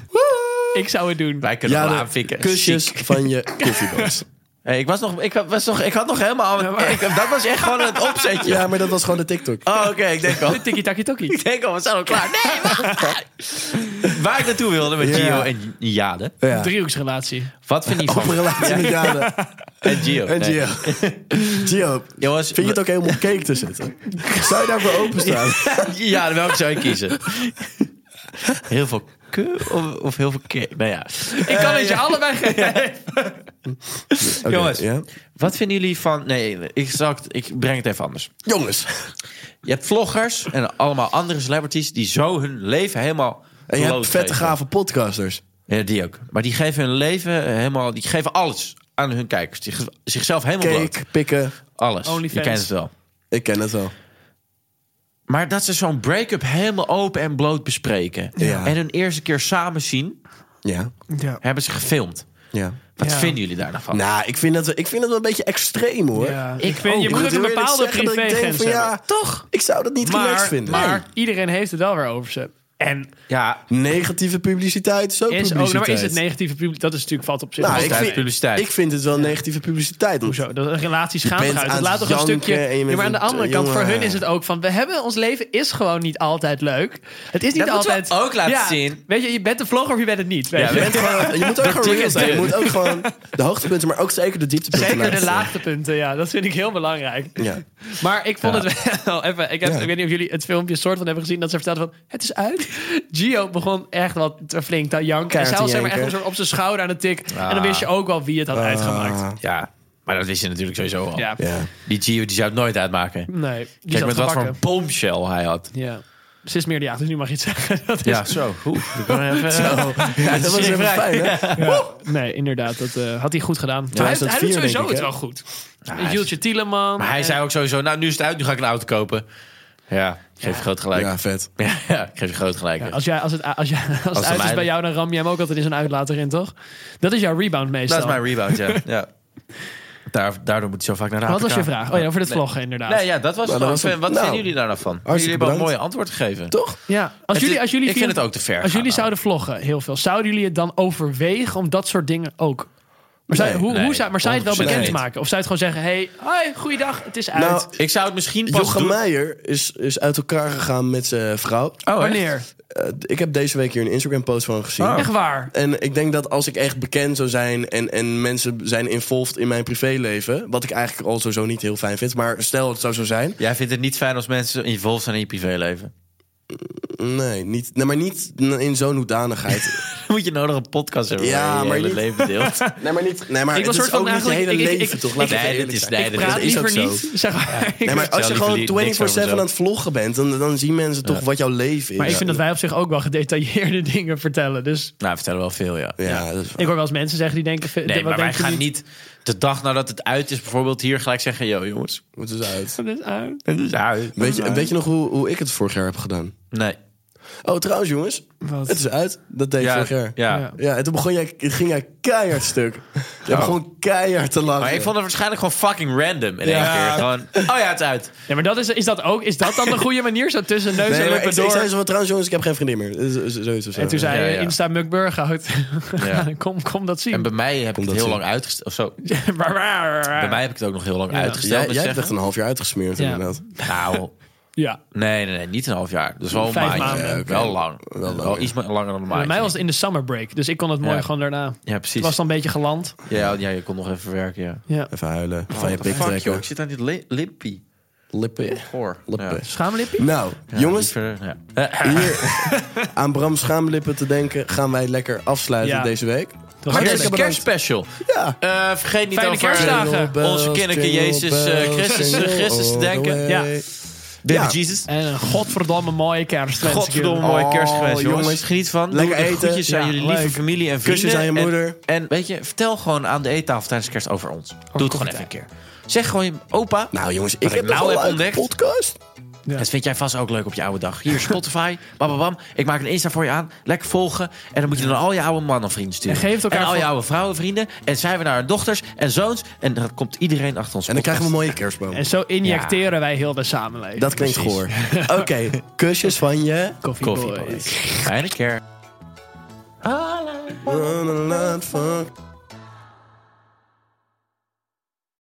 B: Ik zou het doen.
C: Wij kunnen hem
A: Jade,
C: aanfikken.
A: kusjes
C: Chic.
A: van je koffiebox.
C: Hey, ik, was nog, ik, was nog, ik had nog helemaal... ik, dat was echt gewoon het opzetje.
A: Ja, maar dat was gewoon de TikTok.
C: Oh, oké, ik denk al.
B: Tikkie takkie tokkie.
C: Ik denk al, we zijn al klaar. Nee, wacht. Waar ik naartoe wilde met
A: Ja.
C: Gio en Jade.
A: Ja.
B: Driehoeksrelatie.
C: Wat vind je van...
A: Op
B: Oh.
A: een relatie met Jade.
C: En Gio.
A: En
C: Nee.
A: Gio. Gio,
C: Jongens,
A: vind je het ook helemaal om op cake te zitten? Zou je daarvoor openstaan?
C: Ja, welke zou je kiezen? Heel veel ke of, of heel veel ke? Nou ja.
B: Ik kan
A: Eh,
B: het je allebei geven.
A: Oké,
C: Jongens.
A: ja.
C: Wat vinden jullie van... Nee, ik, zal het, ik breng het even anders.
A: Jongens.
C: Je hebt vloggers en allemaal andere celebrities... die zo hun leven helemaal...
A: En je hebt
C: blootgeven.
A: vette gave podcasters.
C: Ja, die ook. Maar die geven hun leven helemaal... Die geven alles aan hun kijkers. Die geven zichzelf helemaal bloot.
A: Cake, pikken.
C: Alles.
B: Onlyfans.
C: Je kent het wel.
A: Ik ken het wel.
C: Maar dat ze zo'n break-up helemaal open en bloot bespreken.
A: Ja.
C: En hun eerste keer samen zien,
A: Ja.
B: Ja.
C: hebben ze gefilmd.
A: ja.
C: Wat
B: Ja.
C: vinden jullie daar nou van?
A: Nou, ik vind, dat, ik vind dat wel een beetje extreem hoor. Oh,
B: Ik vind, je
A: Ik
B: moet ook een
A: heel eerlijk
B: bepaalde
A: zeggen dat ik denk
B: privégrens
A: van,
B: hebben.
A: ja, toch? Ik zou dat niet relaxed
B: Maar,
A: vinden.
B: maar iedereen heeft het wel weer over ze. En
C: Ja,
A: Nee. negatieve publiciteit is ook
B: is, ook,
A: publiciteit.
B: nou, maar is het negatieve publiek? Dat is natuurlijk valt op zich.
A: Nou,
B: wel
A: ik
B: tegen.
A: vind,
C: publiciteit.
A: ik vind het wel negatieve publiciteit.
B: Hoezo? Dat een relatie
A: bent
B: schaamt uit.
A: aan
B: Dat laat
A: het
B: toch een
A: janken
B: stukje.
A: en je
B: Ja,
A: bent
B: maar aan de
A: een,
B: andere
A: eh,
B: kant, voor
A: jongen.
B: hun is het ook van. We hebben ons leven is gewoon niet altijd leuk. Het is niet
C: Dat moeten we
B: altijd.
C: ook laten zien.
B: Weet je, je bent een vlogger of je bent het niet. Weet
C: Ja,
B: je?
A: Je, bent gewoon, je moet ook gewoon
C: ding
A: real
C: is
A: zijn. Je
C: dit.
A: moet ook gewoon de hoogtepunten, maar ook zeker de dieptepunten.
B: Zeker de
A: laten zien.
B: laagtepunten, ja, dat vind ik heel belangrijk.
A: Ja.
B: Maar ik vond het wel even. Ik, heb,
A: Ja.
B: ik weet niet of jullie het filmpje soort van hebben gezien dat ze vertelden van het is uit. Gio begon echt wat te flink te janken.
A: Keihard
B: en zij
A: te
B: was zeg maar
A: janken.
B: echt op zijn- op zijn schouder aan de tik. En dan wist je ook wel wie het had uitgemaakt.
A: Ah.
C: ja. Maar dat wist je natuurlijk sowieso al.
B: Ja,
A: Ja.
C: Die Gio die zou het nooit uitmaken.
B: nee. Die
C: Kijk
B: zat
C: met wat voor
B: gebakken.
C: een bombshell hij had.
B: Ja. Ze is meerderjarig, dus nu mag je het zeggen. Dat is-
C: Ja, zo. Oeh, ik ben even, ja,
A: dat was even fijn, hè?
B: Nee, inderdaad, dat eh, had hij goed gedaan. Maar hij
A: staat
B: hij doet
A: vier,
B: sowieso
A: denk ik,
B: het
A: hè?
B: wel goed. Jultje Tieleman.
C: Maar hij
B: en-
C: zei ook sowieso, nou nu is het uit, nu ga ik een auto kopen. Ja, geef je groot gelijk. Ja.
A: Ja, vet.
C: ja, ik geef je groot gelijk.
B: Als, jij, als, het, als, jij, als, het
C: het
B: uit is
C: mij-
B: bij jou, dan ram je hem ook altijd in zijn uitlater in, toch? Dat is jouw rebound meestal.
C: dat is mijn rebound, ja. ja. Daar, daardoor moet je zo vaak naar de
B: Wat was
C: APK.
B: je vraag? Oh ja, over dit vloggen inderdaad.
C: Nee, ja, dat was
A: Nou,
C: het.
A: dat was het.
C: Wat
A: Nou,
C: zijn jullie daar nou van?
A: hartstikke
C: jullie hebben wel een
A: bedankt.
C: mooie antwoord gegeven.
A: Toch?
B: Ja, als
C: Het
B: jullie,
C: is-
B: als jullie
C: ik vind het ook te ver
B: Als
C: gaan,
B: jullie
C: nou.
B: zouden vloggen, heel veel, zouden jullie het dan overwegen om dat soort dingen ook? Maar zou,
A: Nee,
B: hoe,
C: nee,
B: hoe zou, maar zou je het wel
A: 100%
B: bekend
A: niet.
B: maken? Of zou je het gewoon zeggen: hey, hoi, goeiedag, het is uit.
A: Nou,
C: Ik zou het misschien pas
A: Jochem
C: doen-
A: Meijer is, is uit elkaar gegaan met zijn vrouw.
C: Oh, echt? Oh.
B: Wanneer?
A: Eh, ik heb deze week hier een Instagram-post van gezien.
B: Echt waar?
A: En ik denk dat als ik echt bekend zou zijn en, en mensen zijn involved in mijn privéleven, wat ik eigenlijk al sowieso niet heel fijn vind, maar stel het zou zo zijn.
C: Jij vindt het niet fijn als mensen involved zijn in je privéleven.
A: Nee, niet, nee maar niet in zo'n hoedanigheid.
C: Moet je nodig een podcast hebben
A: Ja,
C: waar je, je
A: maar
C: hele
A: niet-
C: leven deelt. Nou,
A: nee, maar niet. Nee, maar
B: Ik
A: het
B: was soort
A: is
B: van
A: ook niet je
B: eigenlijk-
A: hele
B: ik- ik-
A: leven,
B: ik-
A: toch?
B: ik-
A: Laten we
C: nee,
A: eerlijk
C: dit is,
A: zijn.
C: nee,
B: Ik
C: dit
B: praat
C: is,
B: liever
A: ook zo.
B: niet. Zeg maar.
A: Nee,
C: vertel
A: maar als je
C: liever
A: gewoon
C: niet- niks over
A: 24-7 aan
C: mezelf.
A: het vloggen bent, dan, dan zien mensen toch wat jouw leven is.
B: Maar ik vind dat wij op zich ook wel gedetailleerde dingen vertellen. Dus
C: Nou, we vertellen wel veel, ja.
A: Ja, dat is-
B: ik hoor wel eens mensen zeggen die denken:
C: Nee,
B: wat
C: maar wij
B: denk je
C: gaan niet de dag nadat het uit is bijvoorbeeld hier gelijk zeggen... Yo, jongens,
A: moet dus uit.
B: Het is uit.
C: het is uit.
A: Weet je, weet je nog hoe, hoe ik het vorig jaar heb gedaan?
C: Nee.
A: Oh, trouwens, jongens.
B: Wat?
A: Het is uit. Dat deed ik
C: Ja,
A: vorig jaar.
C: ja.
B: Ja.
A: Ja, en toen begon jij, ging jij keihard stuk. Jij begon keihard te lachen.
C: Oh. Maar ik vond het waarschijnlijk gewoon fucking random in één
A: Ja.
C: keer. Gewoon, oh ja, het is uit.
B: Ja, maar dat is, is dat ook? Is dat dan de goede manier? Zo tussen neus
A: Nee,
B: en
A: maar
B: lippen
A: ik, ik
B: door.
A: zei zo van, trouwens jongens, ik heb geen vriendin meer. Z- z- Zoiets of zo.
B: en toen zei
C: Ja,
B: je
C: ja.
B: Insta Mukburg uit.
C: Ja.
B: kom, kom dat zien.
C: En bij mij heb ik
A: dat
C: het heel
A: zien.
C: lang uitgesteld. Of zo. Bij mij heb ik het ook nog heel lang
B: Ja.
C: uitgesteld.
A: Jij,
C: dat
A: jij hebt
C: zeggen.
A: echt een half jaar uitgesmeerd
B: Ja.
A: inderdaad.
C: Nou,
B: Ja.
C: nee, nee, nee, niet een half jaar. Dus wel een
B: Vijf
C: maandje.
B: maanden.
C: Ja, oké. Wel lang. Wel,
A: lang, ja.
C: iets ma- langer dan een
B: Bij
C: maandje.
B: mij was het in de summer break, dus ik kon het mooi
C: Ja.
B: gewoon daarna.
C: Ja,
B: Het
C: precies.
B: was dan een beetje geland.
C: ja, ja, je kon nog even werken, ja.
B: Ja.
A: Even huilen, van
C: What
A: je
C: the
A: pik
C: fuck, joh.
A: trekken.
C: eh, Ik zit aan die li- limpie.
A: Lippen.
C: Goor.
A: Lippen.
B: Schaamlippie?
A: Nou, jongens,
C: Ja.
A: hier aan Bram Schaamlippen te denken, gaan wij lekker afsluiten
B: Ja.
A: deze week.
B: was
C: Hartstikke
A: heerlijk.
C: kerstspecial.
A: Ja.
C: Eh, vergeet niet
B: Fijne
C: over
B: kerstdagen.
A: Jingle bells,
C: onze kinderke
A: jingle
C: Jezus, eh,
A: bells,
C: Christus, eh,
A: jingle
C: Christus te
A: all the
C: denken.
A: way.
B: Ja.
C: Baby
A: Ja.
C: Jesus.
B: En een godverdomme mooie kerst.
C: Godverdomme mooie
A: Oh,
C: kerstgewenst, jongens.
A: jongens.
C: Geniet van.
A: Lekker
C: Doe de
A: eten.
C: groetjes aan
B: Ja,
C: jullie lieve
B: leuk.
C: familie en vrienden.
A: Kusjes aan je
C: En-
A: moeder.
C: En, weet je, vertel gewoon aan de eettafel tijdens kerst over ons. Doe het gewoon even een keer. Zeg gewoon je opa.
A: Nou jongens, ik
C: Wat
A: heb
C: ik
A: nou
C: nou
A: wel
C: heb
A: een
C: ontdekt.
A: leuke podcast.
C: Dat vind jij vast ook leuk op je oude dag. Hier, Spotify. bam, bam, bam. Ik maak een Insta voor je aan. Lekker volgen. En dan moet je dan al je oude mannenvrienden sturen.
B: En geef het elkaar
C: al je
B: voor-
C: oude vrouwenvrienden. En zijn we naar hun dochters en zoons. En dan komt iedereen achter ons.
A: En
C: podcast.
A: dan krijgen we een mooie kerstboom.
B: En zo injecteren wij heel de samenleving.
A: Dat klinkt goor. Oké, kusjes van je.
B: Coffee,
C: Koffie
B: Boys.
C: Boys. Fijne kerk.
A: Wanna learn fuck.